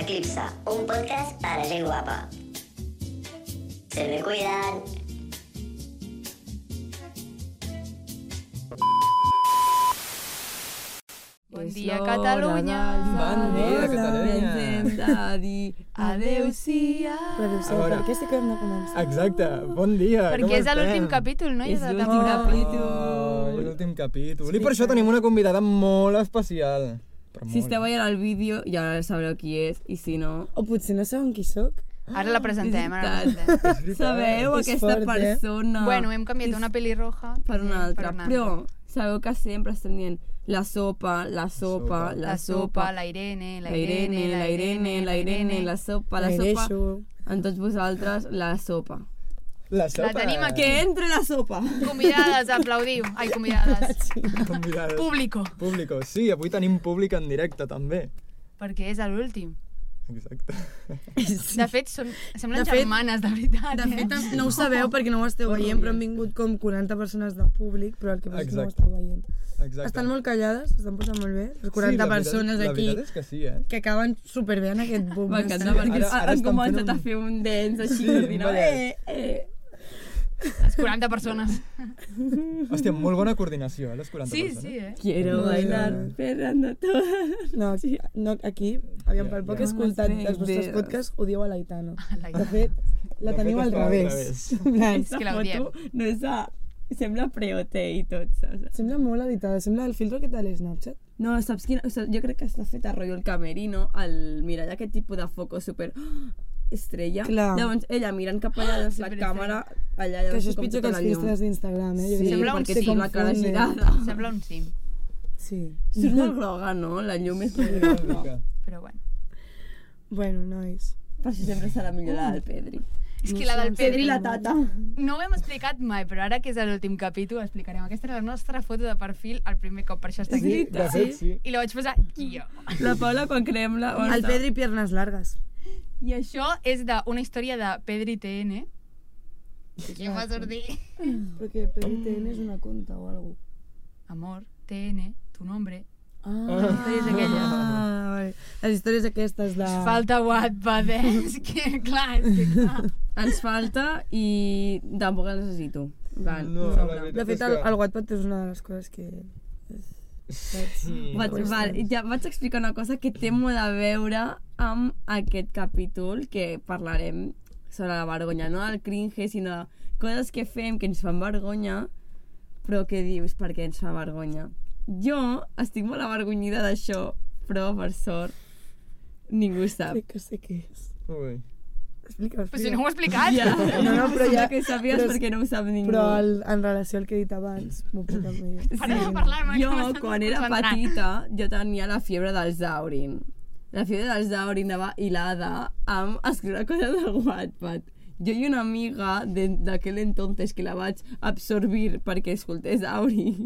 Eclipsa, un podcast para gente guapa. Se me cuidan. Bon És dia, l'hora Catalunya. d'alçar Bon dia, la Catalunya. veu, hem de dir Adeu-siau. adeu-siau. A veure. Per què sí que hem de començar? Exacte, bon dia. com Perquè és estem? l'últim capítol, no? I És de la l'últim temporada. capítol. Oh, és l'últim capítol. I per això tenim una convidada molt especial. Però molt. Si esteu veient el vídeo ja sabreu qui és i si no... O potser no saben qui sóc. Ara la presentem, ara la Visitat. presentem. Sabeu És aquesta fort, eh? persona Bueno, hem canviat una pelirroja per una altra, una però sabeu que sempre estem dient la sopa, la sopa, la, La sopa, la Irene, la Irene, la Irene, la Irene, la sopa, la sopa, Mereixo. en tots vosaltres, la sopa. La, sopa. La tenim aquí. Que entre la sopa! Convidades, aplaudiu. Ai, convidades. Convidada. Público. Público. Sí, avui tenim públic en directe, també. Perquè és l'últim. Exacte. De fet, són, semblen De fet- germanes, de veritat. De eh? fet, no ho sabeu perquè no ho esteu veient, però han vingut com 40 persones de públic, però el que passa és que no ho Exacte. esteu veient. Exacte. Estan molt callades, s'estan posant molt bé. Les Sí, 40 la veritat- persones la aquí veritat és que sí, eh? que acaben superbé en aquest boom. M'encanta perquè Ara- ara estan han fent un- començat a fer un dents així, Sí, sí, un no? ballet. Eh, eh. Les 40 persones. Hòstia, molt bona coordinació, eh, les 40 Sí, persones. sí, eh? Quiero bailar, Fernando Torres. No, aquí, no, aquí aviam, pel poc Ja, ja. escoltat No dels vostres idees. podcasts, odieu a l'Aitana. La De fet, la De fet, teniu al està al revés. revés. En plan, que la odiem. no és de... Sembla preote i tot, saps? Sembla molt editada, sembla el filtro que té a l'Snapchat. No, saps quina... O sigui, jo crec que està fet a rotllo el camerino, el mirall aquest tipus de foco super oh, estrella. Clar. Llavors, ella mirant cap allà, doncs la Superestrella. càmera allà, Que llavors això és com pitjor que tota els la llum. filtres d'Instagram, eh? Jo Sí, crec Sembla un perquè sí. té la cara Confonen. girada. Sembla un sim, Sí. Surt molt groga, no? La llum és molt groga. Una mica. però bueno. Bueno, nois. Per això sempre serà millor la del Pedri. És que la del Pedri... la tata. No ho hem explicat mai, però ara que és l'últim capítol explicarem. Aquesta era la nostra foto de perfil el primer cop, per això està aquí. De fet, sí. I la vaig posar jo. La Paula quan creem la... El Pedri piernas largas. I això és d'una història de Pedri TN. Què va sortir? Perquè Pedri TN és una conta o alguna Amor, TN, tu nombre. Ah, Històries aquelles. ah, vale. Les històries aquestes de... Falta Wattpad, eh? És que, clar, és que clar. Ens falta i tampoc el necessito. Van, No, la veritat De fet, és el, que- el Wattpad és una de les coses que... Mm. Vaig, val, ja vaig explicar una cosa que té molt a veure amb aquest capítol que parlarem sobre la vergonya, no del cringe, sinó de coses que fem que ens fan vergonya, però que dius per què ens fa vergonya. Jo estic molt avergonyida d'això, però per sort ningú ho sap. Crec que sé què és. Ui. Explica, Però si no ho he explicat. Ja, No, no, però ja- que sabies però és- perquè no ho sap ningú. Però el, en relació al que he dit abans, m'ho puc dir. Para de parlar-me. que Jo, m'estan quan era desconcentrant. petita, jo tenia la fiebre del Zaurin. La fiebre del Zaurin anava hilada amb escriure coses del Wattpad. Jo i una amiga de- d'aquell entonces que la vaig absorbir perquè escoltés Auri,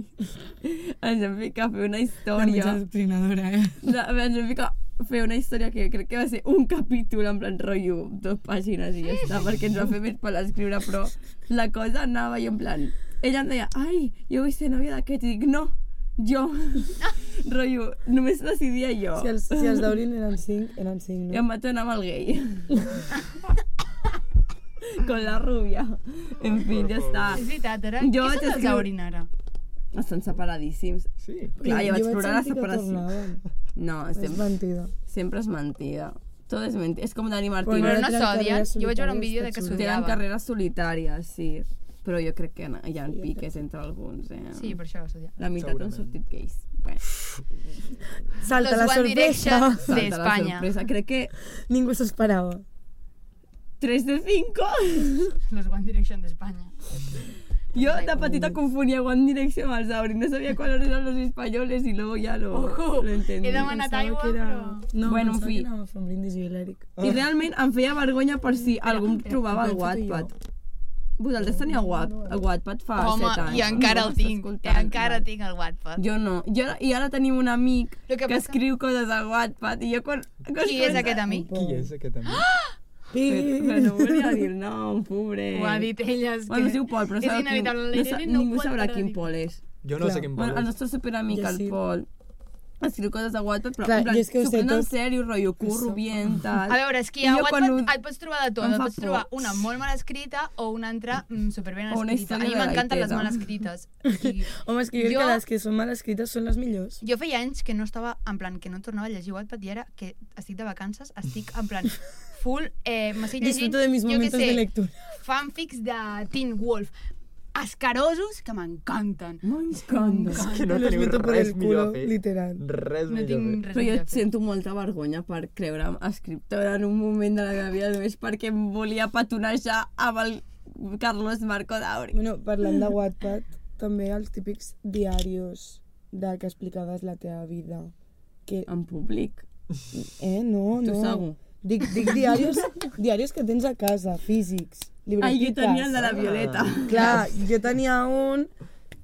ens vam ficar a fer una història... doctrinadora, eh? La, ens vam ficar a fer una història que crec que va ser un capítol en plan rotllo, dos pàgines i ja està, perquè ens va fer més per escriure, però la cosa anava i en plan... Ella em deia, ai, jo vull ser nòvia d'aquest, i dic, no, jo, rotllo, només decidia jo. Si els, si els d'Aurin eren 5, eren 5, I no? em vaig anar amb el gay. Con la rubia. En fi, ja està. És veritat, ara. Jo Jo Què vaig són els escriure- Aurin, ara? Estan separadíssims. Sí. Clar, Ah, jo vaig plorar la sentir que separació. tornaven. No, És sempre, mentida. sempre és mentida. Tot és mentida. És com Dani Bueno, Martín. Però no tenen s'odien. carreres Jo vaig veure un solitàries, vídeo de que tot xulo. Tenen s'odiava. carreres solitàries, sí. Però jo crec que hi ha piques entre alguns, eh? Sí, per això s'odiava. La meitat han Segurament. sortit gais. Bé, Salta la Los One sorpresa. Direction salta la d'Espanya. sorpresa. Crec que Ningú s'ho esperava. 3 de 5. Los One Direction d'Espanya. Jo de petita confonia One Direction amb els Aurin. No sabia cuáles eran los españoles y luego ya lo, Ojo, lo entendí. he demanat Pensava aigua, que era- però... No, Bueno, en pensava fi. que Ah. anava a fer un brindis i l'Eric. I realment em feia vergonya per si algú em trobava al penso que jo. Wattpad. Vosaltres teníeu Watt, el Wattpad fa Home, 7 anys. i encara el M'estàs tinc. escoltant, I encara vale. tinc el Wattpad. Jo no. Jo, I ara tenim un amic Lo que, que que passa- escriu coses al Wattpad i jo quan... quan Qui és aquest amic? Qui és aquest amic? Pi! Però no volia dir nom, pobre. Ho ha dit ella. és Bueno, que es diu Pol, però és sabeu quin... inevitable. No, sa- L'Irene no ningú pot sabrà parar de quin dir. Pol és. Jo no sé quin Bueno, Pol és. el nostre superamic, Jo el sí. Pol, escriu coses de Wattpad, però Clar, en plan, jo és que ho s'ho sé pren en tot. sèrio, rotllo, curro bien, tal. A veure, és que I a jo Wattpad quan quan... ho- et pots trobar de tot. Em Et fa pots trobar por. una molt mal escrita o una altra mm, superben O una escrita. A història mi de m'encanten les gaitera. mal escrites. I Home, és que jo crec Jo- que les que són mal escrites són les millors. jo feia anys que no estava, en plan, que no tornava a llegir Wattpad i ara que estic de vacances, estic en plan full... Eh, M'estic llegint, Disfruto de mis jo què momentos sé, de lectura. fanfics de Teen Wolf escarosos que m'encanten. M'encanta. Que no Me los teniu meto por res el millor a culo, fer. literal. Res No millor a tinc fer. res Però jo millor a fer. sento molta vergonya per creure'm escriptora en un moment de la meva vida només perquè em volia petonejar amb el Carlos Marco Dauri. Bueno, parlant de Wattpad, també els típics diaris de que explicaves la teva vida. Que, En públic. eh, no, Tu no. segur. Dic, dic diaris, diaris que tens a casa, físics, Ai, llibretiques. jo tenia el de la Violeta. Clar, jo tenia un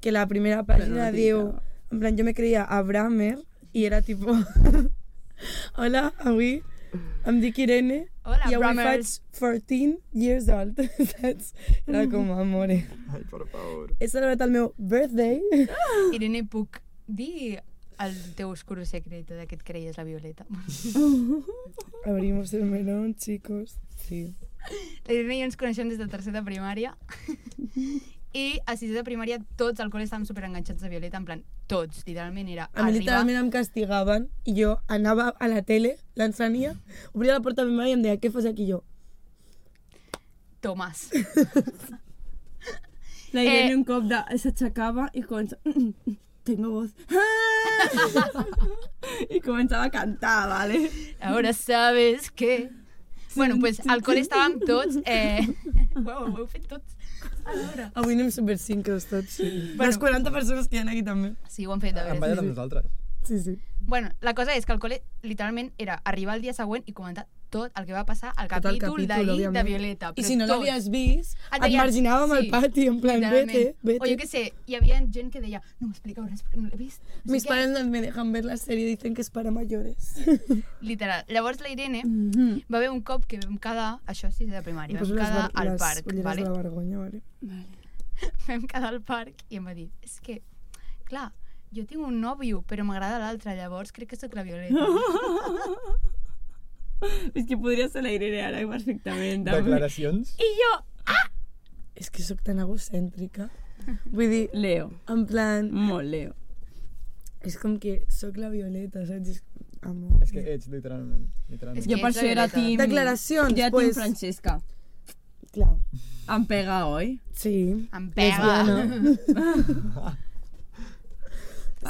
que la primera pàgina no diu... trigava. En plan, jo me creia a Bramer i era tipo... Hola, avui em dic Irene Hola, i avui Bramers." faig 14 years old, saps? Era com, amore. Ai, per favor. He celebrat el meu birthday. Irene, puc dir el teu oscuro secreto de que et creies la Violeta? Abrimos el melón, chicos. Sí. La Irene i jo ens coneixem des de tercer de primària i a sisè de primària tots al col·le estàvem superenganxats de Violeta, en plan, tots, literalment era A mi literalment em castigaven i jo anava a la tele, l'encenia, obria la porta a mi mare i em deia què fas aquí I jo. Tomàs. La Eh. Irene un cop de... s'aixecava i comença... Tengo voz. I començava a cantar, vale? Ahora sabes que... Bueno, pues al col·le estàvem tots... Eh... Uau, ho heu fet tots. Avui anem supersincros tots. Sí. Bueno. Les 40 persones que hi ha aquí també. Sí, ho han fet, de Em veres. ballen amb nosaltres. Sí, sí. Bueno, la cosa és que el col·le literalment era arribar el dia següent i comentar tot el que va passar al Tot el capítol, d'ahir òbviament. de Violeta. I però si no tot. l'havies vist, Et et, deien, marginàvem al sí, pati, en plan, vete, Literalment. vete. O jo què sé, hi havia gent que deia no m'expliqueu res perquè no l'he vist. No sé Mis què". pares no me dejan ver la sèrie, dicen que és para mayores. Literal. Llavors la Irene Mhm. va haver un cop que vam quedar, això sí, de primària, vam quedar al parc, ulleres vale? de la vergonya, vale? vam quedar al parc i em va dir, és que, clar, jo tinc un nòvio, però m'agrada l'altre, llavors crec que sóc la Violeta. És que podria ser la Irene ara perfectament. també. Declaracions? I jo, És que sóc tan egocèntrica. Vull dir, Leo. en plan, Molt Leo. és com que sóc la Violeta, saps? És, amor. És que ets, literalment. literalment. És Jo que per ets la això era Violeta. team... Declaracions, Jo era team pues. Francesca. Clar, Em pega, oi? sí. em pega. Lesbiana.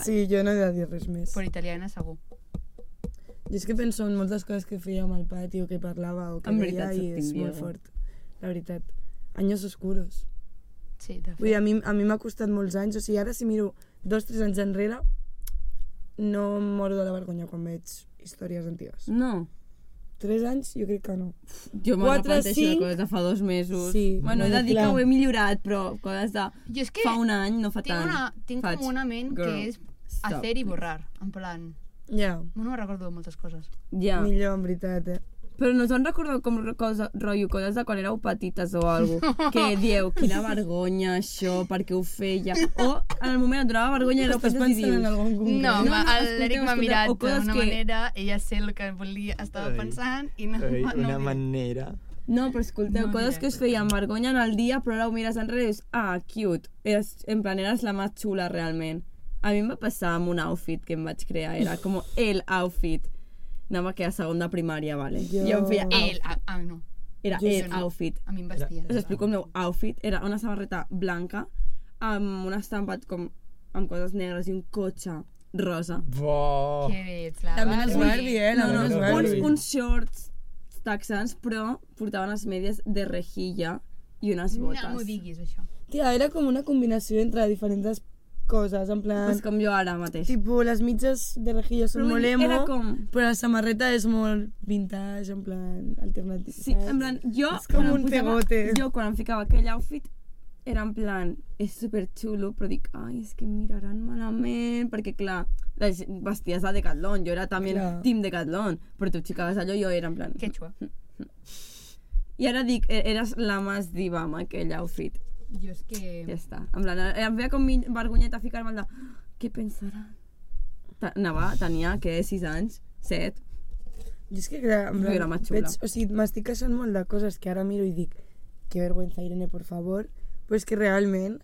Sí, jo no he de dir res més. Per italiana, segur. Jo és que penso en moltes coses que feia amb el pati o que parlava o que En deia veritat, i sóc és team molt Diego. fort. La veritat. Anyos oscuros. Sí, de Vull fet. dir, a mi a mi m'ha costat molts anys, o sigui, ara si miro dos, tres anys enrere, no em moro de la vergonya quan veig històries antigues. No. Tres anys? Jo crec que no. Jo me Quatre, repeteixo cinc. de coses de fa dos mesos. Sí, Bueno, he bueno, de dir clar. que ho he millorat, però coses de... Jo és que Fa un any, no fa tinc, tant. una, tinc Faig, com una ment girl, que és stop. hacer i borrar, en plan... Ja, No recordo de moltes coses. Ja. millor, en veritat, eh? Però no us en recordeu com cosa, rotllo, coses de quan éreu petites o alguna cosa? Que dieu, quina vergonya això, per què ho feia? O en el moment et donava vergonya i Estàs l'opes i pensant en dius... algun concret? No, no, no, escolteu, l'Eric m'ha escolteu, mirat o coses d'una que- manera, ella sé el que volia, estava Ai. pensant i no... Ei, no, una no manera. No, però escolteu, No no, coses diré. que us feien vergonya en el dia, però ara ho mires enrere i dius, ah, cute. Eres, en plan, eres la més xula, realment. A mi em va passar amb un outfit que em vaig crear, era com el outfit. Anava que a segon de primària, vale? Jo, Jo- jo em feia, Ell, ah, ah, no, era Jo el no. outfit. a mi em vestia. Us explico el meu outfit. Era una samarreta blanca amb un estampat com amb coses negres i un cotxe rosa. Bo. Que bé, ets la... També no és Barbie. Barbie, eh? No, La no, no, és no, uns, Barbie. uns shorts texans, però portaven les medies de rejilla i unes botes. No m'ho diguis, això. Tia, era com una combinació entre diferents coses, en plan... Pues com jo ara mateix. Tipo, les mitges de rejilla són Però molt vull dir, emo, era com- però la samarreta és molt vintage, en plan alternativa. Sí, en plan, jo... eh, És com quan em un posava- pegote. Jo quan em ficava aquell outfit era en plan, és super xulo, però dic, ai, és que em miraran malament, perquè clar, les vesties de Decathlon, jo era també Clar. team Decathlon, però tu ficaves allò i jo era en plan... Que xua. I ara dic, e- eres la más diva amb aquell outfit. Jo és Ja que... eh, està. En plan, em feia com mi- vergonyeta ficar-me al de, què "Ah, pensaran? ta- Nava tenia, què, 6 anys? 7? Jo és que clar, en Jo plan, era más xula. o sigui, m'estic queixant molt de coses que ara miro i dic que vergüenza, Irene, por favor. Però és que realment,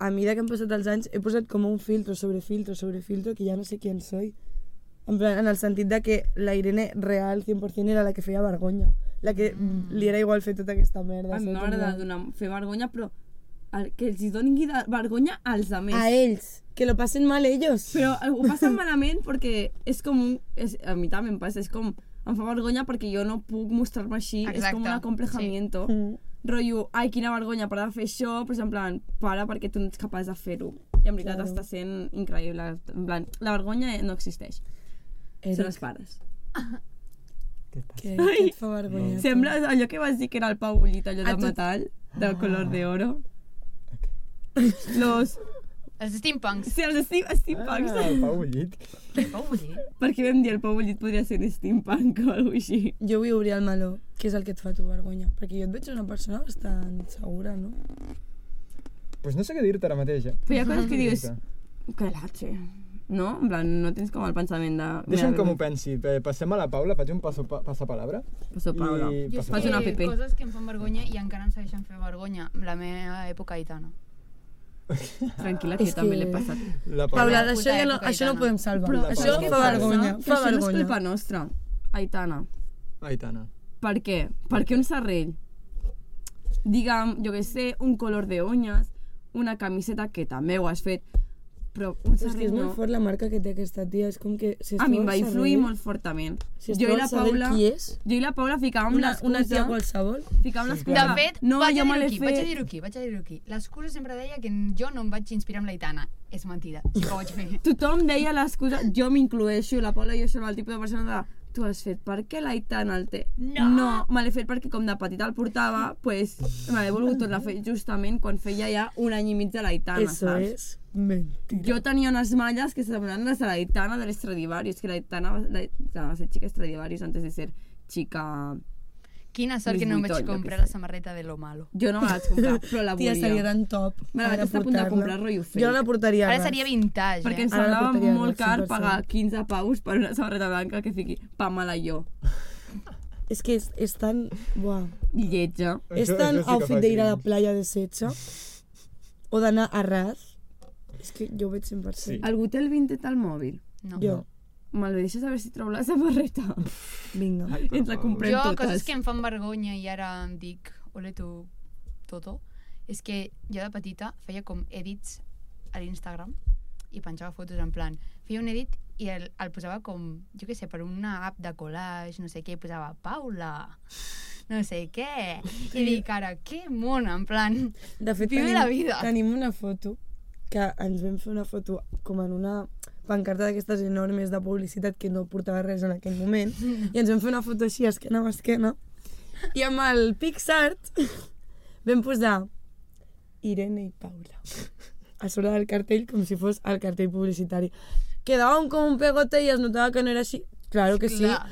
a mida que han passat els anys, he posat com un filtro sobre filtro sobre filtro que ja no sé qui en soy. En, plan, en el sentit de que la Irene real 100% era la que feia vergonya. La que Mm. li era igual fer tota aquesta merda. A mi saps? m'agrada En plan, donar, fer vergonya, però el- que els hi doni de- vergonya als altres. A ells, que lo passen mal ells. Però ho passen malament perquè és com un... És, a mi també em passa, és com... Em fa vergonya perquè jo no puc mostrar-me així. És Exacte, com un acomplejamiento. Sí. Mm. Rotllo, ai, quina vergonya per fer això, però és en plan, para perquè tu no ets capaç de fer-ho. I en veritat Claro. està sent increïble. En plan, la vergonya no existeix. Eric. Són Eric, els pares. que, que et fa vergonya. Sembla allò que vas dir que era el Pau Bullit, allò Ah, A de tu- metall, de color de oro. Los... Els steampunks. Sí, els steam, steampunks. Ah, el Pau Llit. Oh, sí. Perquè vam dir el Pau Bullit podria ser un steampunk o alguna així. Jo vull obrir el meló, que és el que et fa tu vergonya, perquè jo et veig una persona bastant segura, no? Pues no sé què dir-te ara mateix, eh? Però hi ha coses que dius, Exacte. calatxe, no? En plan, no tens com el pensament de... Deixa'm que m'ho pensi. Eh, Passem a la Paula, faig un passo, pa, passapalabra. Passo Paula. I Jo és passo Fas una que PP. coses que em fan vergonya i encara em segueixen fer vergonya. La meva època gitana. Tranquil·la, que És jo també que- l'he passat. la Paula, Paula, d'això ja puta no, època això no gitana. ho podem salvar. Però això saps què fa passa? vergonya, fa Això no és vergonya. culpa nostra, Aitana. Aitana. Per què? Per què un serrell? Digue'm, jo què sé, un color de uñas, una camiseta que també ho has fet, però un És que és serrell molt no. fort la marca que té aquesta tia, és com que... Si A mi esteu em va al influir Sabadell- molt fortament. eh? Si Jo i la Paula... Qui és? Jo i la Paula ficàvem Una, una tia l'excusa... qualsevol? Ficàvem De l'excusa... fet, no, vaig, jo a dir-ho me l'he aquí, vaig a fet... dir-ho aquí, vaig a dir-ho aquí. L'excusa sempre deia que jo no em vaig inspirar amb l'Aitana. És mentida, sí que ho vaig fer. Tothom deia l'excusa, jo m'incloeixo, la Paula i jo som el tipus de persona de tu has fet perquè l'Aitana el té. No! No, me l'he fet perquè com de petita el portava, pues, me l'he volgut tornar a fer justament quan feia ja un any i mig de l'Aitana, Eso Ah, saps? és mentira. Jo tenia unes mallas que s'assemblaven les de l'Aitana de l'Estradivarius, que l'Aitana va, l'Aitana va ser xica Estradivarius antes de ser xica... Quina sort Luis que no em vaig Vuitton, jo comprar què la samarreta de lo malo. Jo no me la vaig comprar, Ah, però la volia. Tia, seria tan top. Me la ara vaig estar a punt de portar-la. comprar rotllo fake. Jo la portaria Ara ras. seria vintage, Perquè eh? em Ara la semblava portaria molt al car 100%. pagar 15 paus per una samarreta blanca que fiqui Pamela jo. És que és, és tan... Buah. Lletja. És Això- tan això sí que outfit fa d'ir a la cringe. playa de setxa o d'anar a ras. És que jo ho veig 100%. Sí. Algú té el vintet al mòbil? No. Jo, Jo, Me'l deixes a veure si trobo la samarreta. vinga. Ai, per Ens la favor. comprem. totes. coses que em fan vergonya i ara em dic, ole tu, Toto, és que jo de petita feia com edits a l'Instagram i penjava fotos en plan, feia un edit i el, el posava com, jo què sé, per una app de collage, no sé què, i posava Paula, no sé què, i dic ara, que mona, en plan, De fet, Vive tenim, la vida. tenim una foto que ens vam fer una foto com en una pancarta d'aquestes enormes de publicitat que no portava res en aquell moment i ens vam fer una foto així esquena a esquena i amb el PixArt vam posar Irene i Paula a sobre del cartell com si fos el cartell publicitari quedava un com un pegote i es notava que no era així claro que sí, Clar,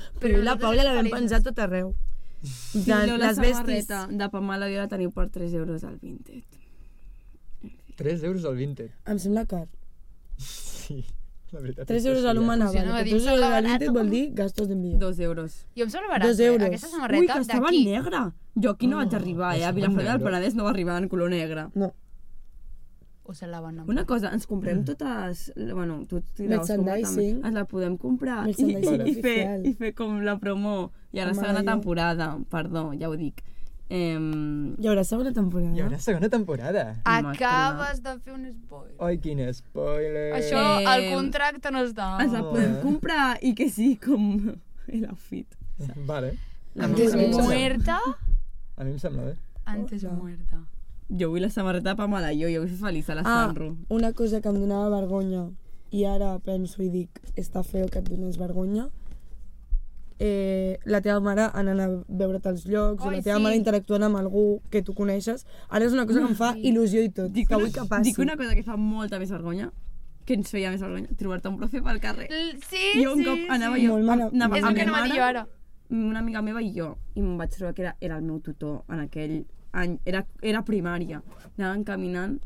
però però, jo i la nosaltres Paula la vam diferents. penjar a tot arreu En plan, Jo la les vestis samarreta de Pamela jo la teniu per 3 euros al vintet. 3 euros al Vinted. em sembla car Sí, la veritat. 3 euros a l'humana, Funciona, vale. va dir, 3 euros sembla a l'Inter barato. vol dir gastos d'envio. 2 euros. jo em sembla barat, Dos eh? euros. aquesta Ui, samarreta que eh? estava d'aquí, negra. Jo aquí no Ah, vaig arribar, eh? A estava Vilafranca del negra. Penedès no va arribar en color negre. No, o se la van anar. Una cosa, ens Mm. comprem totes... Bueno, tu tiraves Merchandising. Ens la podem comprar i, i, Merchandising i, fer, oficial. i fer com la promo. I ara Home, segona jo- temporada, perdó, ja ho dic. Em, hi haurà segona temporada. Hi haurà segona temporada. Acabes de fer un spoiler. Ai, quin spoiler. Això, Eh, al contracte no està. ens la Ah. podem comprar i que sí com el outfit. Vale. La Em Antes sembla- em sembla- muerta, A mi em sembla bé. antes Hola. muerta. Jo vull la samarreta pa mala, jo, jo vull fer feliç a la Ah, Sanro. una cosa que em donava vergonya i ara penso i dic, està feo que et dones vergonya, eh, la teva mare anant a veure't als llocs, o Ai, la teva sí. mare interactuant amb algú que tu coneixes, ara és una cosa que em fa il·lusió i tot, Dic que una, vull que passi. dic una cosa que fa molta més vergonya, que ens feia més vergonya, trobar-te un profe pel carrer. L- Sí, Jo un sí, cop anava sí. jo, Molt mala- anava És amb el que mi anava a dir jo mare, ara. una amiga meva i jo, i em vaig trobar que era, era el meu tutor en aquell any, era, era primària. Anaven caminant,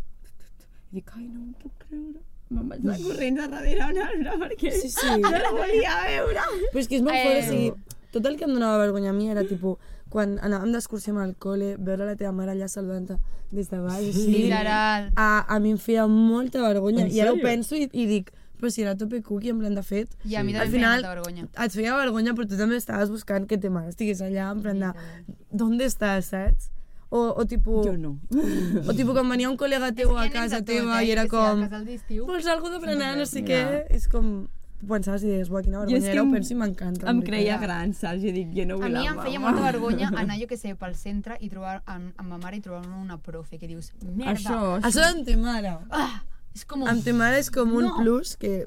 i dic, ai, no m'ho puc creure. me'n vaig anar corrents a darrere un arbre perquè Sí, sí. no la volia veure. Però és que és molt Eh. fort, o sigui, tot el que em donava vergonya a mi era, tipus, quan anàvem d'excursió amb el col·le, veure la teva mare allà saludant-te des de baix, o sigui, Literal. a, a mi em feia molta vergonya. En I ara ho sèrio? penso i, i dic, però si era tope cookie, en plan, de fet, I a mi Sí. també Al em feia final- molta vergonya. et feia vergonya, però tu també estaves buscant que te mare estigués allà, en plan de, d'on estàs, saps? O, o tipus... Jo no. O tipus quan venia un col·lega teu a casa teva eh, i era Sí, com... a casa d'estiu. Vols alguna cosa d'aprenar, no sé No. què? És com... Tu pensaves i deies, buah, quina Jo vergonya és que era, ho em- penso i m'encanta. Em en veritat. creia gran, saps? Jo dic, jo no A vull mi la em feia mama. molta vergonya anar, jo que sé, pel centre i trobar amb, amb ma mare i trobar una profe que dius, merda, Això, això. Això amb te mare. ah, és com... Amb te mare és com un No. Ah, plus que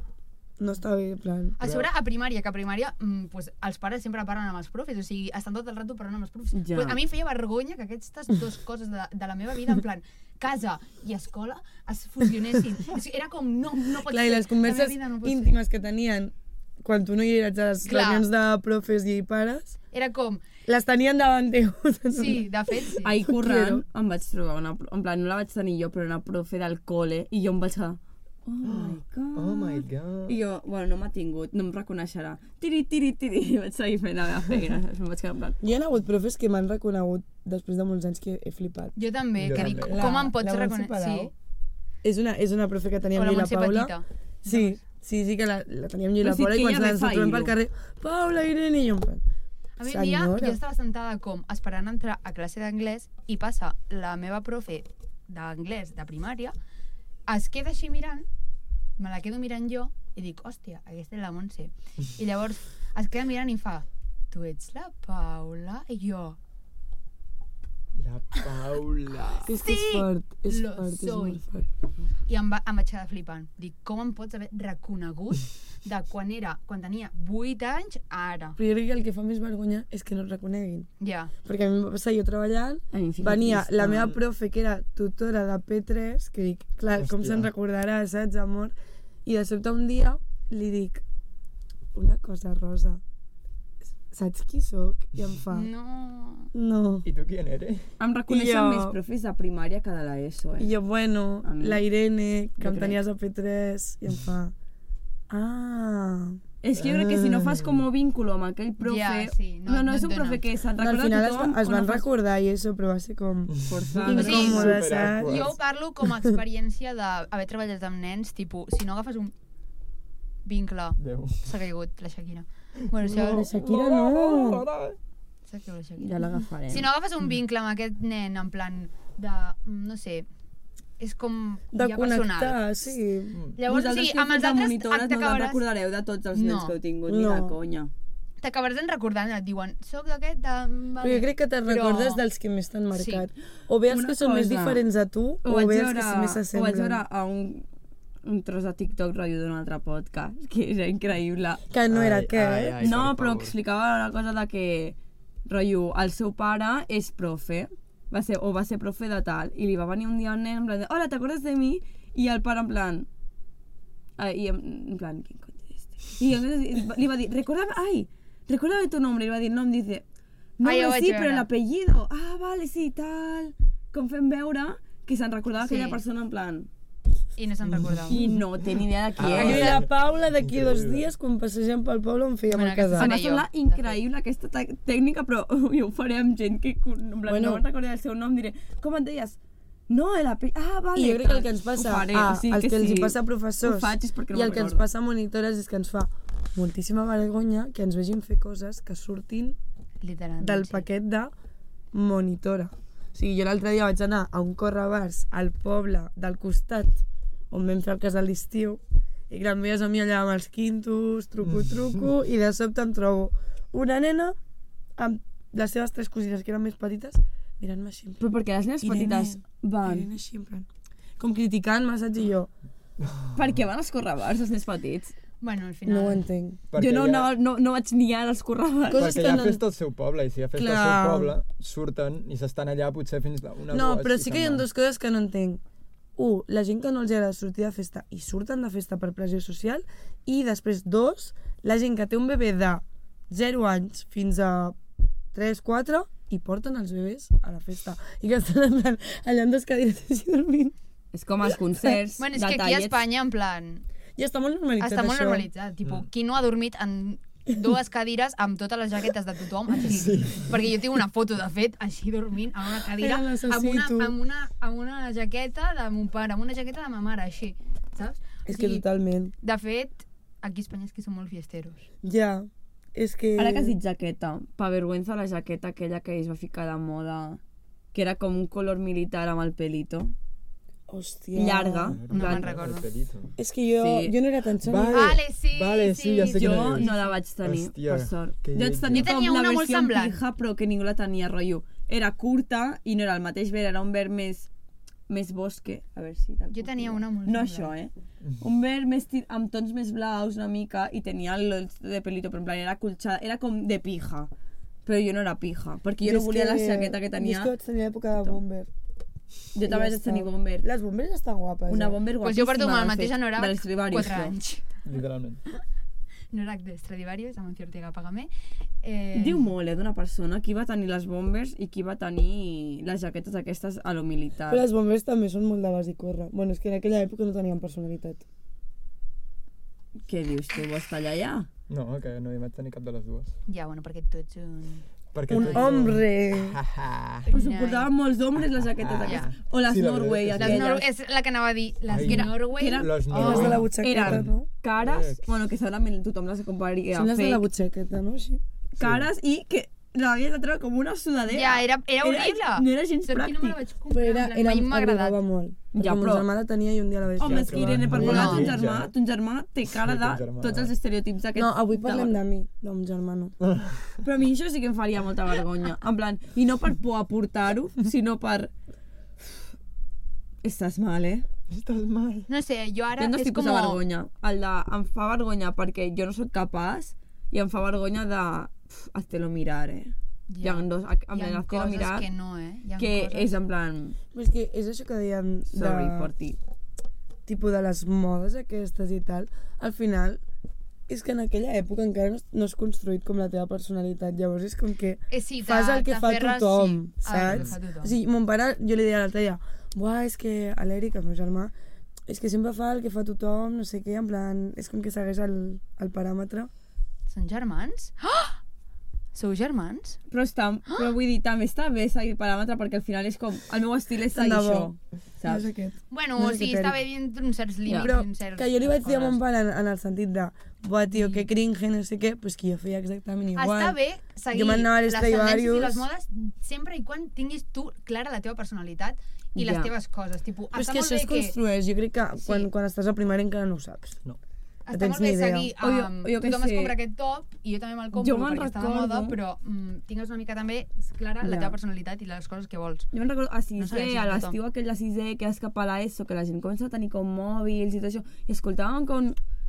no està bé, en plan... A sobre, a primària, que a primària mm, pues, els pares sempre parlen amb els profes, o sigui, estan tot el rato parlant amb els profes. Ja. Pues, a mi em feia vergonya que aquestes dues coses de, de la meva vida, en plan, casa i escola, es fusionessin. O sigui, era com, no, no pot Clar, i ser. les converses la meva vida no pot íntimes que tenien quan tu no hi eres a les Clar. reunions de profes i pares, Ser. Era com, les tenien davant teu. sí, de fet, sí. Ahir Quiero. currant em vaig trobar una... pro- En plan, no la vaig tenir jo, però una profe del col·le i jo em vaig quedar... Oh my god. Oh my god. I jo, bueno, no m'ha tingut, no em reconeixerà. Tiri, tiri, tiri. I vaig seguir fent la meva feina. saps? Em vaig quedar en plan... Hi ha hagut profes que m'han reconegut després de molts anys que he flipat. Jo també, Jo que també. dic, La- com em pots la Montse reconèixer? Sí. Palau? És una, és una profe que teníem O la jo i la Montse Paula. Petita. Doncs. Sí, sí, sí que la, la teníem jo i Però la sí Paula que i quan ella se la- ve ens fa trobem pel Iru. carrer, Paula, Irene, i jo em fan. A mi un dia Senyora. jo estava sentada com esperant entrar a classe d'anglès i passa la meva profe d'anglès de primària, es queda així mirant, me la quedo mirant jo i dic, hòstia, aquesta és la Montse. I llavors es queda mirant i fa, tu ets la Paula? I jo, La Paula. És que és Sí, fort, és lo fort, és soy. molt fort. i em, va, em vaig quedar flipant. Dic, com em pots haver reconegut de quan era, quan tenia 8 anys, a ara? Però jo crec que el que fa més vergonya és que no et reconeguin. Ja. Perquè a mi em va passar jo treballant, A mi em fica venia trist, la no? meva profe que era tutora de P3, que dic, clar, com Hòstia. se'n recordarà, saps, amor? I de sobte un dia li dic, una cosa, Rosa, saps qui sóc? I em fa, No... no. I tu qui eres? Em reconeixen Jo. més profes de primària que de l'ESO, eh? I jo, bueno, A mi. la Irene, que Jo em crec. tenies a P3, i em fa... Ah... És que jo crec que si no fas com un vínculo amb aquell profe... Ja, sí, no- no, no no, és un et dona. profe que se'n No, Ah. al recorda final es, tothom. va- es o van no fas- recordar i això, però va ser com... Forçada. Sí. Incòmode, Super saps? awkward. Jo ho parlo com a experiència d'haver treballat amb nens, tipus, si no agafes un vincle, Déu. s'ha caigut la Shakira. Bueno, si no. La Shakira no! s'ha caigut la Shakira. Ja l'agafarem. Si no agafes Mm. un vincle amb aquest nen, en plan de, no sé, és com De ja personal. connectar, sí. Llavors, o Vosaltres sigui, que amb heu els fet de altres monitores no te'n t'acabaràs recordareu de tots els nens No. que heu tingut, ni de No. conya. t'acabaràs en recordant, et diuen, soc d'aquest... De... Però jo crec que te Però- recordes dels que més t'han marcat. O bé els Una que són més cosa. diferents a tu, o vaig bé els que més ho vaig veure s'assemblen. a un, un tros de TikTok rotllo d'un altre podcast, que era increïble. Que no era Ai, ai, aquest. ai, no, per però favor. explicava una cosa de que, rotllo, el seu pare és profe, va ser, o va ser profe de tal, i li va venir un dia un nen en plan de, hola, t'acordes de mi? I el pare en plan... "Ah", I en, en plan, quin cony és este? I entonces li va dir, recordava, ai, recordava tu nombre, i va dir, no, em dice, no, Ai, ho vaig sí, veure. però l'apellido, ah, vale, sí, tal, com fem veure que se'n recordava Sí. sí. aquella persona en plan, I no se'n recordava. i no té ni idea de qui Ah, és. I ai. la Paula d'aquí dos dies, quan passegem pel poble, em feia Bueno, molt aquesta casar. Em Faré va jo, semblar de fet. increïble aquesta tec- tècnica, però jo ho faré amb gent que con- en plan, Bueno. no me'n recordaré el seu nom, diré, com et deies? No, el ape... Ah, vale. I jo crec que el tal. que ens passa Ho faré, a, o sigui els que, els sí. hi passa a professors Ho faig, és perquè no i el me'n que ens recordo. passa a monitores és que ens fa moltíssima vergonya que ens vegin fer coses que surtin Ah, Literalment. del sí. paquet de monitora. O sigui, jo l'altre dia vaig anar a un correbars al poble del costat on vam fer el cas de l'estiu i clar, em veies a mi allà amb els quintos, Mm. truco-truco, i de sobte em trobo una nena amb les seves tres cosines que eren més petites mirant-me així. en plan, Però perquè les nenes Irene, petites van... Mirant així, en plan, com criticant massatge i jo. Per què van als correbars, els nens petits? Bueno, al final... No ho entenc. jo no, ja- anava- no, no vaig ni ara als correbars. Coses perquè que hi ha no- festa al seu poble, i si hi ha festa Clar. al seu poble, surten i s'estan allà potser fins a una No, dues, però i sí se'n que hi ha van. dues coses que no entenc. Un, la gent que no els agrada sortir de festa i surten de festa per pressió social. I després, dos, la gent que té un bebè de 0 anys fins a 3, 4 i porten els bebès a la festa. I que estan en plan, allà amb dos cadires així dormint. És com els concerts, Bueno, és que aquí a detallets... Espanya, en plan, I està molt normalitzat, està molt això. normalitzat. Mm. Tipo, qui no ha dormit en dues cadires amb totes les jaquetes de tothom així. Perquè jo tinc una foto, de fet, així dormint en una cadira, Era necessito. amb una, amb, una, amb una jaqueta de mon pare, amb una jaqueta de ma mare, així, saps? És que totalment. De fet, aquí a Espanya és que som molt fiesteros. Ja. És que... Ara que has dit jaqueta, pa vergüenza la jaqueta aquella que es va ficar de moda, que era com un color militar amb el pelito, Hòstia. llarga. No me'n en plan, recordo. El pelito. És que jo, Sí. jo no era tan xona. Vale, Vale, sí, vale, sí. sí, ja sé Jo quina és. no la vaig tenir, Hòstia, per sort. que Jo vaig lletja. tenir Jo tenia com una la molt versió semblant. pija, però que ningú la tenia, rotllo. Era curta i no era el mateix verd, era un verd més, més bosque. A veure si te'l Jo puc tenia trobar. una molt No això, semblant. eh? Un verd més tir- amb tons més blaus una mica i tenia el de pelito, però en plan era colxada, era com de pija. Però jo no era pija, perquè jo no és volia que- la jaqueta que Jo tenia. és que vaig tenir l'època de bomber. Jo també vaig tenir bomber. Les bombers estan guapes. Una eh? bomber Doncs pues guapíssima. jo porto amb de el mateix fet, anorac dels Stradivarius, 4 però. anys. Literalment. Anorac de Stradivarius, amb Ancio Ortega Pagamé. Eh, Diu molt, eh, d'una persona, qui va tenir les bombers i qui va tenir les jaquetes aquestes a lo militar. Però les bombers també són molt de bàsic córrer. Bueno, és que en aquella època no tenien personalitat. Què dius, tu vols tallar ja? No, que no hi vaig tenir cap de les dues. Ja, bueno, perquè tu ets un... Perquè Un tu- hombre! Ha, ha. Però suportaven molts homes les jaquetes Ah, Ja. aquestes. O les Sí, la Norway, veritat Les aquelles. Nor és la que anava a dir, les Ai. que Que era- Norway. que era- Les Oh. Les de la no. butxaqueta, Eren no? cares, Ex. bueno, que segurament tothom les compraria Són les de la fake, butxaqueta, no? Així. cares i que l'havies de treure com una sudadera. Ja, eh. era, era horrible. no era gens Sort que no me la pràctic. vaig comprar. Però era, en plan, era, mai m'ha agradat. agradava molt. Perquè Ja, mon però- germà la tenia i un dia la vaig Home, és que Ja, Irene, per però- parlar de ton No. germà, ton germà té cara Sí, de ton germà. tots els estereotips aquests. No, avui de- parlem de mi, de mon germà, Mm. no. Però a mi això sí que em faria molta vergonya. En plan, i no per por a portar-ho, sinó per... Estàs mal, eh? Estàs mal. No sé, jo ara Jo en dos és tipus com... de vergonya. El de, em fa vergonya perquè jo no sóc capaç i em fa vergonya de... Pf, hazte-lo mirar, eh? Ja. Ja. Hi ha dos, en Hi plan, ha hazte-lo coses mirar, que no, eh? Hi ha que coses... és en plan... Però és que és això que dèiem de, Sorry por ti. tipus de les modes aquestes i tal. Al final, és que en aquella època encara no, es- no has construït com la teva personalitat. Llavors és com que Eh, sí, fas el que fa t'aferres, tothom, sí, al que saps? fa tothom. O sigui, mon pare, jo li deia l'altre dia, buah, és que a l'Eric, el meu germà, és que sempre fa el que fa tothom, no sé què, en plan, és com que segueix el, el paràmetre. Són germans? Ah! Sou germans? Però, està, però vull dir, també està bé seguir el paràmetre perquè al final és com... El meu estil és seguir Tant de això. bo. No és Saps? aquest. Bueno, o No sé sigui, què està t'he bé dintre uns certs límits, Però uns certs... que jo li vaig dir a coses. mon pare en, en el sentit de buah, tio, que cringe, no sé què, però és que jo feia exactament igual. Està bé seguir Jo m'anava a les tendències i Stradivarius. les modes sempre i quan tinguis tu clara la teva personalitat i les Ja. teves coses. Tipo, Però és està que molt això bé es construeix, jo crec que quan, quan estàs a primària encara no ho saps. No. Està tens molt bé ni idea. seguir O jo- amb... o jo què tothom es sé. compra aquest top i jo també me'l compro Jo me'n perquè està de recordo. moda, però mm, tingues una mica també clara la Ja. teva personalitat i les coses que vols. Jo me'n recordo a No sisè, segueixes a tothom. l'estiu aquell de sisè, que vas cap a l'ESO, que la gent comença a tenir com mòbils i tot això, i escoltàvem com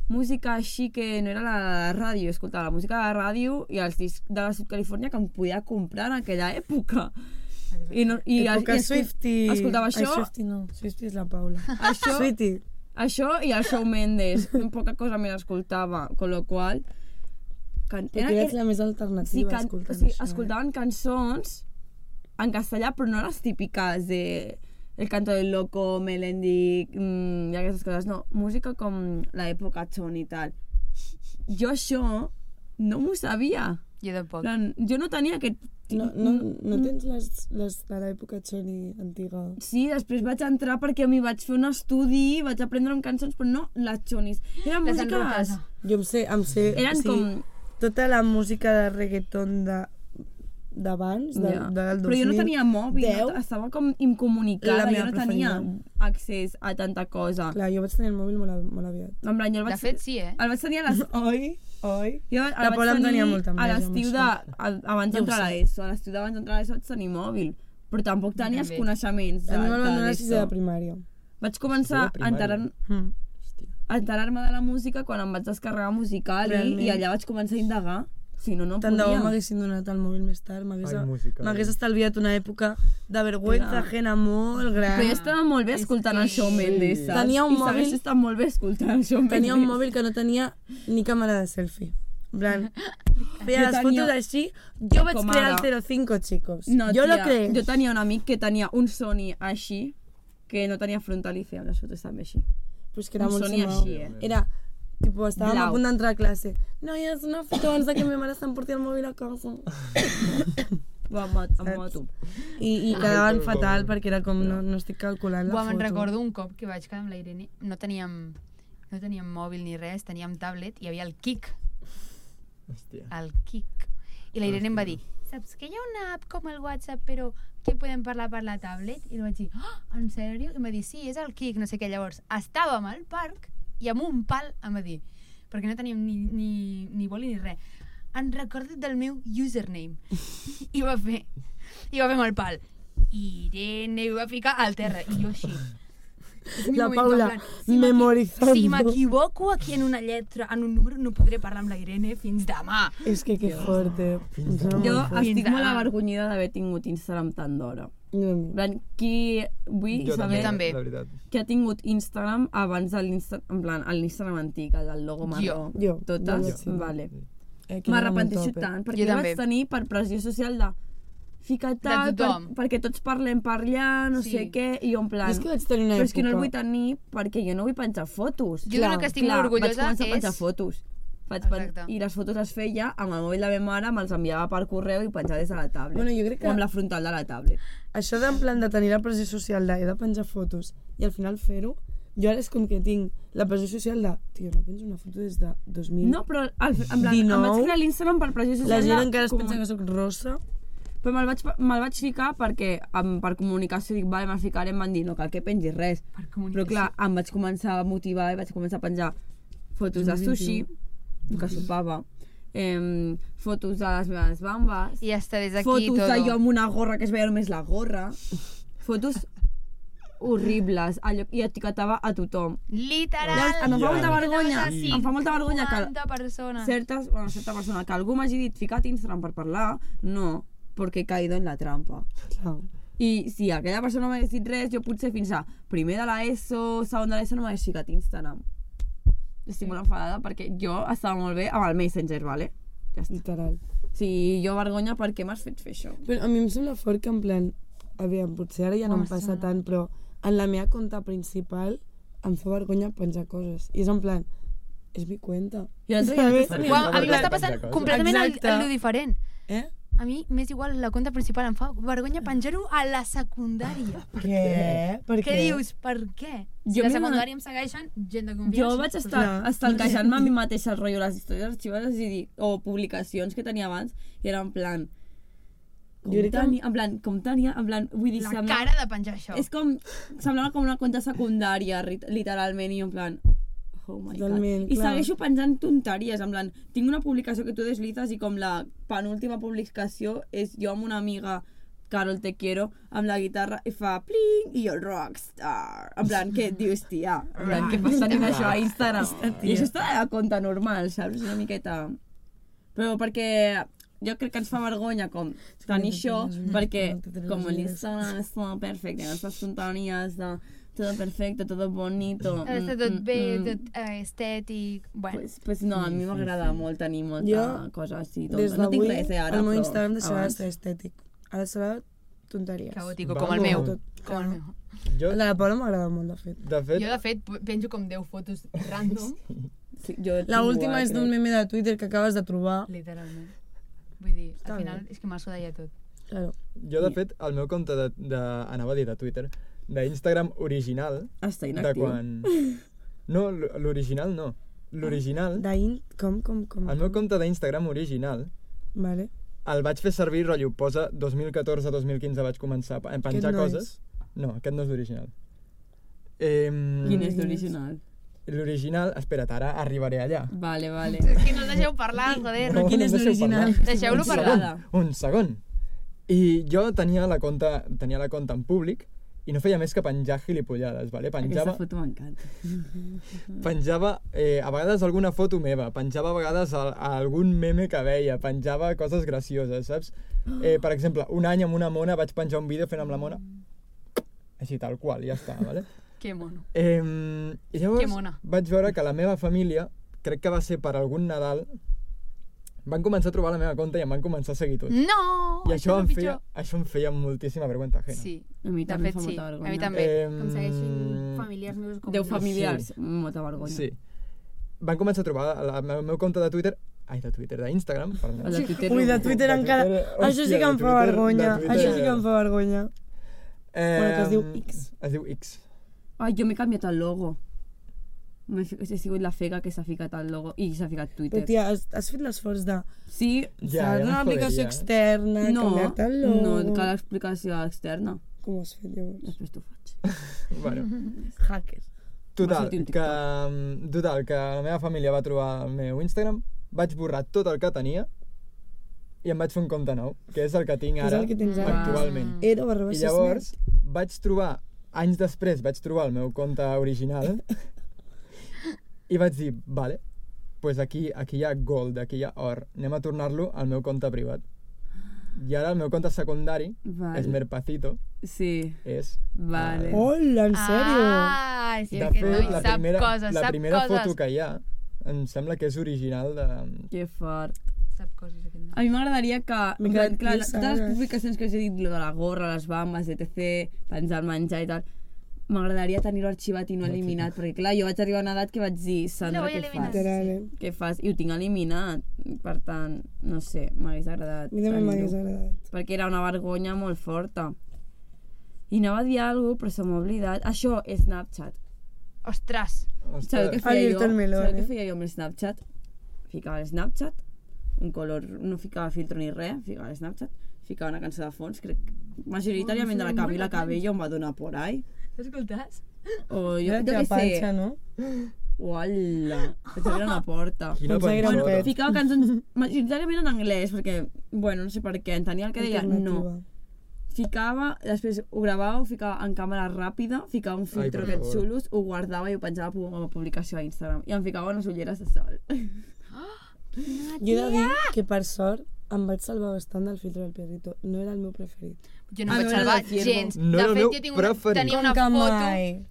música així que no era la de la ràdio, escoltava la música de la ràdio i els discs de la Sud Califòrnia que em podia comprar en aquella època. I, no, i, I, Època i i escu- Swifty... Escoltava això, Ai, Swifty no, Swifty és la Paula. això, Swifty. això i el Show Mendes. Poca cosa més escoltava, con lo qual... Can... Era, era- era, la més sí, alternativa, can... escoltant o sigui, això. eh. escoltaven cançons en castellà, però no les típiques de El canto del loco, Melendi mm, i aquestes coses, no. Música com l'època Chon i tal. Jo això no m'ho sabia. Jo En tampoc. plan, Jo no tenia aquest... Eh? No, no, Mm, no tens les, les de l'època Choni antiga? Sí, després vaig entrar perquè m'hi vaig fer un estudi, vaig aprendre amb cançons, però no les xonis. Eren Les músiques... enrocades. Jo em sé, em sé... Eren o sigui, com- Tota la música de reggaeton de d'abans, de, Ja. del 2000... Però jo no tenia mòbil, no, estava com La incomunicada, jo meva no tenia preferida. accés a tanta cosa. Clar, jo vaig tenir el mòbil molt, a- molt aviat. En plan, jo el vaig... De fet, sí, eh? El vaig tenir a les... Oi, oi. Jo el La vaig Paula em tenir tenia molta A enveja amb l'estiu de... això. a- Abans Ja ho d'entrar a sé. l'ESO, a l'estiu d'abans d'entrar a l'ESO vaig tenir mòbil. Però tampoc tenies també. coneixements de, A mi me'l van de donar a sisè de l'ESO. primària. Vaig començar Sisè de a enterar primària. Mm. a enterar-me de la música quan em vaig descarregar musical i, Realment. i allà vaig començar a indagar. Si no, no Tant de bo podia. m'haguessin donat el mòbil més tard, m'hagués Ai, música, m'hagués eh? estalviat una època de vergüenza Era- ajena molt gran. Però jo estava molt bé escoltant que- el Shawn Mendes, saps? Tenia un I segueixo mòbil- estant molt bé escoltant el Shawn Mendes. Tenia un mòbil que no tenia ni càmera de selfie. En plan, feia Jo les tenia- fotos així. Jo vaig Com crear ara. el 05, chicos. No, jo tia, lo creé. jo tenia un amic que tenia un Sony així, que no tenia frontal i fèiem les fotos també així. Però és Pues que era Em molt sonia similar. així, eh? Era, tipo, estàvem Blau. a punt d'entrar a classe. Noies, una foto abans de que ma mare s'emporti el mòbil a casa. Va, amb, mot- amb moto. I, i quedaven fatal perquè era com, no, no estic calculant la Buah, me'n foto. recordo un cop que vaig quedar amb la Irene, no teníem, no teníem mòbil ni res, teníem tablet i hi havia el Kik, Hòstia. el Kik. I la Irene em va dir, saps que hi ha una app com el WhatsApp, però que podem parlar per la tablet? I li vaig dir, oh, en sèrio? I em va dir, sí, és el Kik, no sé què. Llavors, estàvem al parc i amb un pal em va dir, perquè no teníem ni, ni, ni boli ni res, en recorda't del meu username. I va fer, i va fer amb el pal. Irene, i ho va ficar al terra. I jo així. És mi La moment, en Paula, plan, m'equi- memoritzando. Si m'equivoco aquí en una lletra, en un número, no podré parlar amb la Irene fins demà. És que que fort, eh? Fins Jo estic Fins molt demà. avergonyida d'haver tingut Instagram tant d'hora. En plan, qui vull Jo saber també. la veritat. que ha tingut Instagram abans de l'Instagram, en plan, el l'Instagram antic, el del logo marró. Jo. Jo, Totes? sí. Vale. Eh, que era molt M'arrepenteixo top, eh? tant, Jo perquè jo vaig també. tenir per pressió social de ficar tal, per, tothom. perquè tots parlem per allà, no Sí. sé què, i jo en Jo plan... És que vaig tenir una però és que no el vull època. tenir perquè jo no vull penjar fotos. Jo d'una que estic molt vaig orgullosa començar a penjar és- fotos. Vaig pen... Exacte. I les fotos les feia amb el mòbil de ma mare, me'ls enviava per correu i penjava des de la tablet. Bueno, jo crec que- O amb la frontal de la tablet. Això d'en plan de tenir la pressió social de he de penjar fotos i al final fer-ho, jo ara és com que tinc la pressió social de, tio, no penjo una foto des de 2000. No, però al, en plan, em vaig 19. crear l'Instagram per pressió social. la gent de- encara es com- pensa que sóc rossa. Però me'l vaig, me'l vaig ficar perquè em, per comunicació dic, vale, me'l ficaré, em van dir, no cal que pengis res. Per Però clar, em vaig començar a motivar i vaig començar a penjar fotos de sushi, que sopava, em, fotos de les meves bambes, I està des d'aquí fotos tot. de jo amb una gorra que es veia només la gorra, fotos horribles, allò, i etiquetava a tothom. Literal. Llavors, em fa Ja. molta vergonya, Sí. em fa molta vergonya que, 50 persones. certes, bueno, certa persona que algú m'hagi dit ficat Instagram per parlar, no, perquè he caído en la trampa. Clar. I si aquella persona no m'hagués dit res, jo potser fins a primer de l'ESO, segon de l'ESO no m'hagués ficat Instagram. Estic molt enfadada perquè jo estava molt bé amb el Messenger, vale? Ja està. Literal. O sigui, jo vergonya per què m'has fet fer això. Però a mi em sembla fort que en plan, a veure, potser ara ja no em passa tant, però en la meva compte principal em fa vergonya penjar coses. I és en plan, és mi cuenta. I l'altre dia Saps? vaig tenir- Uau, a mi m'està Tanta passant cosa. completament el, Exacte. el, diferent. Eh? A mi m'és igual la compte principal, em fa vergonya penjar-ho a la secundària. Què? Per Què dius? Per què? Si Jo a la m'he secundària em segueixen gent de confiança. Jo vaig estar Clar. estalquejant-me a mi mateixa el rotllo les històries arxivades i dir, o publicacions que tenia abans i era en plan com Jo crec que- tenia, en plan, com tenia, en plan, vull dir, La sembla- cara de penjar això. és com, semblava com una conta secundària, ri- literalment, i jo en plan, oh my Totalment, god. I clar. segueixo penjant tonteries, en plan, tinc una publicació que tu deslites i com la penúltima publicació és jo amb una amiga Carol te quiero, amb la guitarra i fa pling, i jo rockstar. En plan, què dius, tia? En plan, què passa tenint això a Instagram? I això està a la compte normal, saps? Una miqueta... Però perquè jo crec que ens fa vergonya com tenir això, perquè com l'Instagram és tot perfecte, les espontànies de tot perfecte, tot bonito... Ha d'estar mm, tot mm, bé, mm. tot eh, estètic... Bueno, Pues, pues no, a mi m'agrada molt tenir molta Jo, cosa així. Tonta. Des no tinc d'avui, res, eh, ara, el meu però Instagram deixarà de abans. ser estètic. Ara serà tonteries. caòtico, com el Vamos. meu. Tot. Com el meu. Jo, El de la Paula m'agrada molt, de fet. de fet, Jo, de fet, penjo com 10 fotos random, Sí, jo La tinc última igual, és d'un crec. meme de Twitter que acabes de trobar. literalment. Vull dir, Està al bé. final és que m'ha sudat ja tot. Claro. jo, de fet, el meu compte de, de anava a dir de Twitter, d'Instagram original, Està de inactiu. quan... No, l- l'original no. L'original, Dain, com, com, com? el meu compte d'Instagram original, Vale. el vaig fer servir, rotllo, posa 2014-2015 vaig començar a penjar Aquest no coses. No, aquest no és l'original. Eh, Quin és l'original? L'original, espera't, ara arribaré allà. Vale, vale. És que no el deixeu parlar, joder. No, quin no és em deixeu l'original? parlar. Deixeu-lo Un parlar. parlar. segon, Un segon. I jo tenia la compte, tenia la compte en públic i no feia més que penjar gilipollades, vale? Aquesta Penjava, foto m'encanta. penjava eh, a vegades alguna foto meva, penjava a vegades a, a algun meme que veia, penjava coses gracioses, saps? Eh, per exemple, un any amb una mona vaig penjar un vídeo fent amb la mona així tal qual, ja està, vale? Que mono. Eh, I llavors Que mona. vaig veure que la meva família, crec que va ser per algun Nadal, Van començar a trobar la meva compte i em van començar a seguir tots. No! I això és el em, feia, pitjor. això em feia moltíssima vergüenza ajena. Sí. A mi De també fet, em fa sí. molta A vergonya. mi també. Em, Que em segueixin familiars meus com Deu jo. familiars, molta vergonya. Sí. Van començar a trobar la- el meu, meu compte de Twitter... Ai, de Twitter, d'Instagram, perdó. El de Twitter Ui, no. de Twitter De encara... Twitter, Això sí hòstia, que em de fa Twitter- de vergonya. Twitter. Això sí que em fa vergonya. Eh, Bueno, que es diu X. Es diu X. Ai, jo m'he canviat el logo. M'he fi- He sigut la fega que s'ha ficat el logo i s'ha ficat Però, Twitter. tia, has, has fet l'esforç de... Sí, Ja, Saps ja una em aplicació joderia. externa, no, canviar-te el no, logo... cal explicació externa. Com ho has fet, llavors? Després t'ho faig. Bueno, Hacker. total, sortir un que, mm, total, que la meva família va trobar el meu Instagram, vaig borrar tot el que tenia i em vaig fer un compte nou, que és el que tinc Que és ara el que tens ara. actualment. Era barra I baixa llavors Snapchat. vaig trobar, anys després vaig trobar el meu compte original i vaig dir, vale, pues aquí, aquí hi ha gold, aquí hi ha or, anem a tornar-lo al meu compte privat. I ara el meu compte secundari, Val. és Merpacito, Sí, és... vale. Hola, en sèrio? Ah, sí, De aquest fet, noi la sap primera, coses, la sap primera coses. foto que hi ha em sembla que és original de... Que fort. Sap coses, aquest noi. A mi m'agradaria que... M'he en plan, quedat clar, lisa, totes les ara. publicacions que us he dit, lo de la gorra, les bambes, etc, penjar el menjar i tal, m'agradaria tenir-ho arxivat i no eliminat, perquè clar, jo vaig arribar a una edat que vaig dir, Sandra, No vull què eliminar. fas? Literal, eh? Què fas? I ho tinc eliminat, per tant, no sé, m'hagués agradat A mi també m'hagués tenir-ho, agradat. perquè era una vergonya molt forta. I anava a dir alguna cosa, però se m'ha oblidat. Això, Snapchat. Ostres! Sabeu què Ostres, feia Ayer jo? te'l meló, Sabeu què eh? feia jo amb el Snapchat? Ficava el Snapchat, un color, no ficava filtro ni res, ficava el Snapchat, ficava una cançó de fons, crec, majoritàriament de la Camila Cabello em va donar por ahí. T'has escoltat? O jo, Era jo que què panxa, sé, no? uala, vaig obrir una porta. quina Potser era un pensada. pet. Ficava cançons majoritàriament en anglès, perquè, bueno, no sé per què, entenia el que deia, no. Alternativa. Ficava, després ho gravava, ho ficava en càmera ràpida, ficava un Ai, filtro per aquests favor. xulos, ho guardava i ho penjava com a publicació a Instagram. I em ficava unes ulleres de sol. Jo he de dir que, per sort, em vaig salvar bastant del filtre del perrito. No era el meu preferit. Jo no Ah, em vaig no era salvar del ciervo. gens. No de era el fet, meu jo tinc una, preferit. tenia Com una que foto... mai.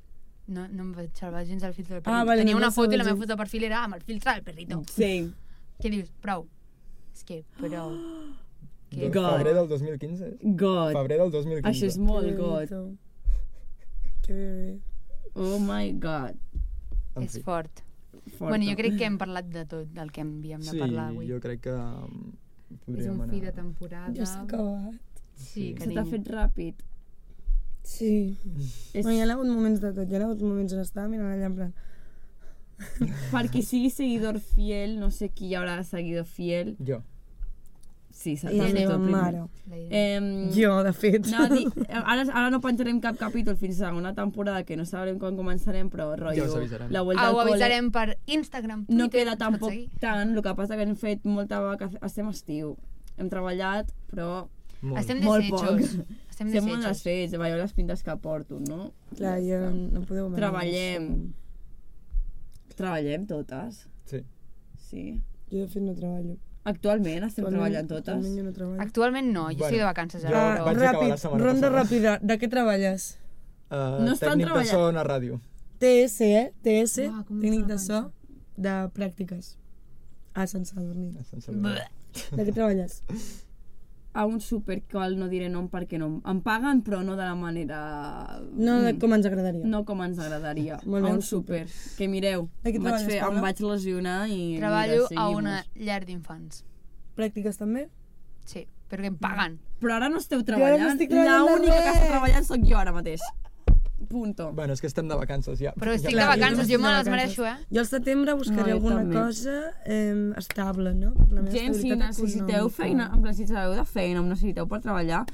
No, no em vaig salvar gens del filtre del perrito. Ah, vale, tenia no una em vaig foto i la salvar meva gens. foto de perfil era amb el filtre del Mm. perrito. Sí. Què dius? Prou. És que, prou. Que Doncs God. Febrer del 2015, és? God. Febrer del 2015. Això és molt Oh, God. Perrito. Que bebé. Oh my God. En és fi. fort. Forta. Bueno, jo crec que hem parlat de tot del que havíem de Sí, parlar avui. jo crec que... um, És podríem un fi de anar- temporada. Ja s'ha acabat. Sí, Sí. Se t'ha carinyo. fet ràpid. Sí. És Bueno, hi ha hagut moments de tot. Hi ha hagut moments on estava mirant allà en plan... Perquè sigui seguidor fiel, no sé qui hi haurà de seguidor fiel. Jo. Sí, s'ha I la t'has fet meva el primer. mare. La eh, idea. Em, Jo, de fet. anava a dir, ara, ara no penjarem cap capítol fins a la segona temporada, que no sabrem quan començarem, però rotllo, Ja us avisarem. la vuelta Ah, al ho col·le avisarem per Instagram, Twitter. no queda ens pot tampoc seguir. tant, el que passa que hem fet molta vaca... Estem estiu, hem treballat, però Molt. Estem Molt desitjos. Estem estem molt desitjos. desfets, veieu les pintes que porto, no? Clar, Ja jo està. no podeu venir. Treballem. Treballem totes, Sí. sí. Jo, de fet, no treballo. Actualment estem treballant Actualment totes. jo no treballo. Actualment no, jo Bueno, estic de vacances jo ara, però... vaig acabar la Ah, Ràpid, setmana ronda passada. ràpida. De què treballes? Uh, No estan tècnic de treballant. so a ràdio. TS, eh? TS, Ah, Uah, com tècnic em de so, fa de pràctiques. A Sant Sadurní. Sense Bleh. De què treballes? A un súper qual no diré nom perquè no em paguen, però no de la manera... No, de com ens agradaria. no com ens agradaria. Molt bé, a un un súper. súper. Que mireu, De què em vaig, treballes, fer, em Paula? vaig lesionar i... Treballo mira, a seguim-nos. una llar d'infants. Pràctiques també? Sí, però que em paguen. Però ara no esteu no treballant. estic treballant de la única que està res. treballant sóc jo ara mateix. Punto. Bueno, és que estem de vacances ja. Però estic ja. de vacances, estic jo de me les vacances. mereixo, eh? Jo al setembre buscaré No, jo alguna també. cosa eh, estable, no? Per la meva Gent, si estabilitat necessiteu econòmica. feina, en plan, si sabeu de feina, em necessiteu per treballar,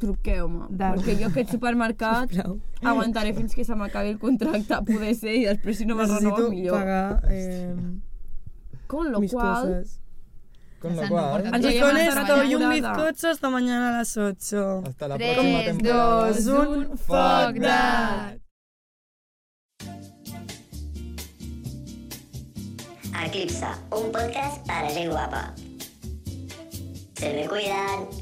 truqueu-me. Perquè jo aquest supermercat Sisplau. aguantaré fins que se m'acabi el contracte, a poder ser, i després si no me renova, Necessito millor. pagar eh, Con lo mis cual, cosas. Con la Ens qual... han Ens Y veiem con a la esto setmana y un durada. bizcocho hasta mañana a las 8. Hasta la 3, pròxima temporada. 2, un 1, foc foc de- de... Eclipsa, un podcast para gent guapa. Se me cuidan.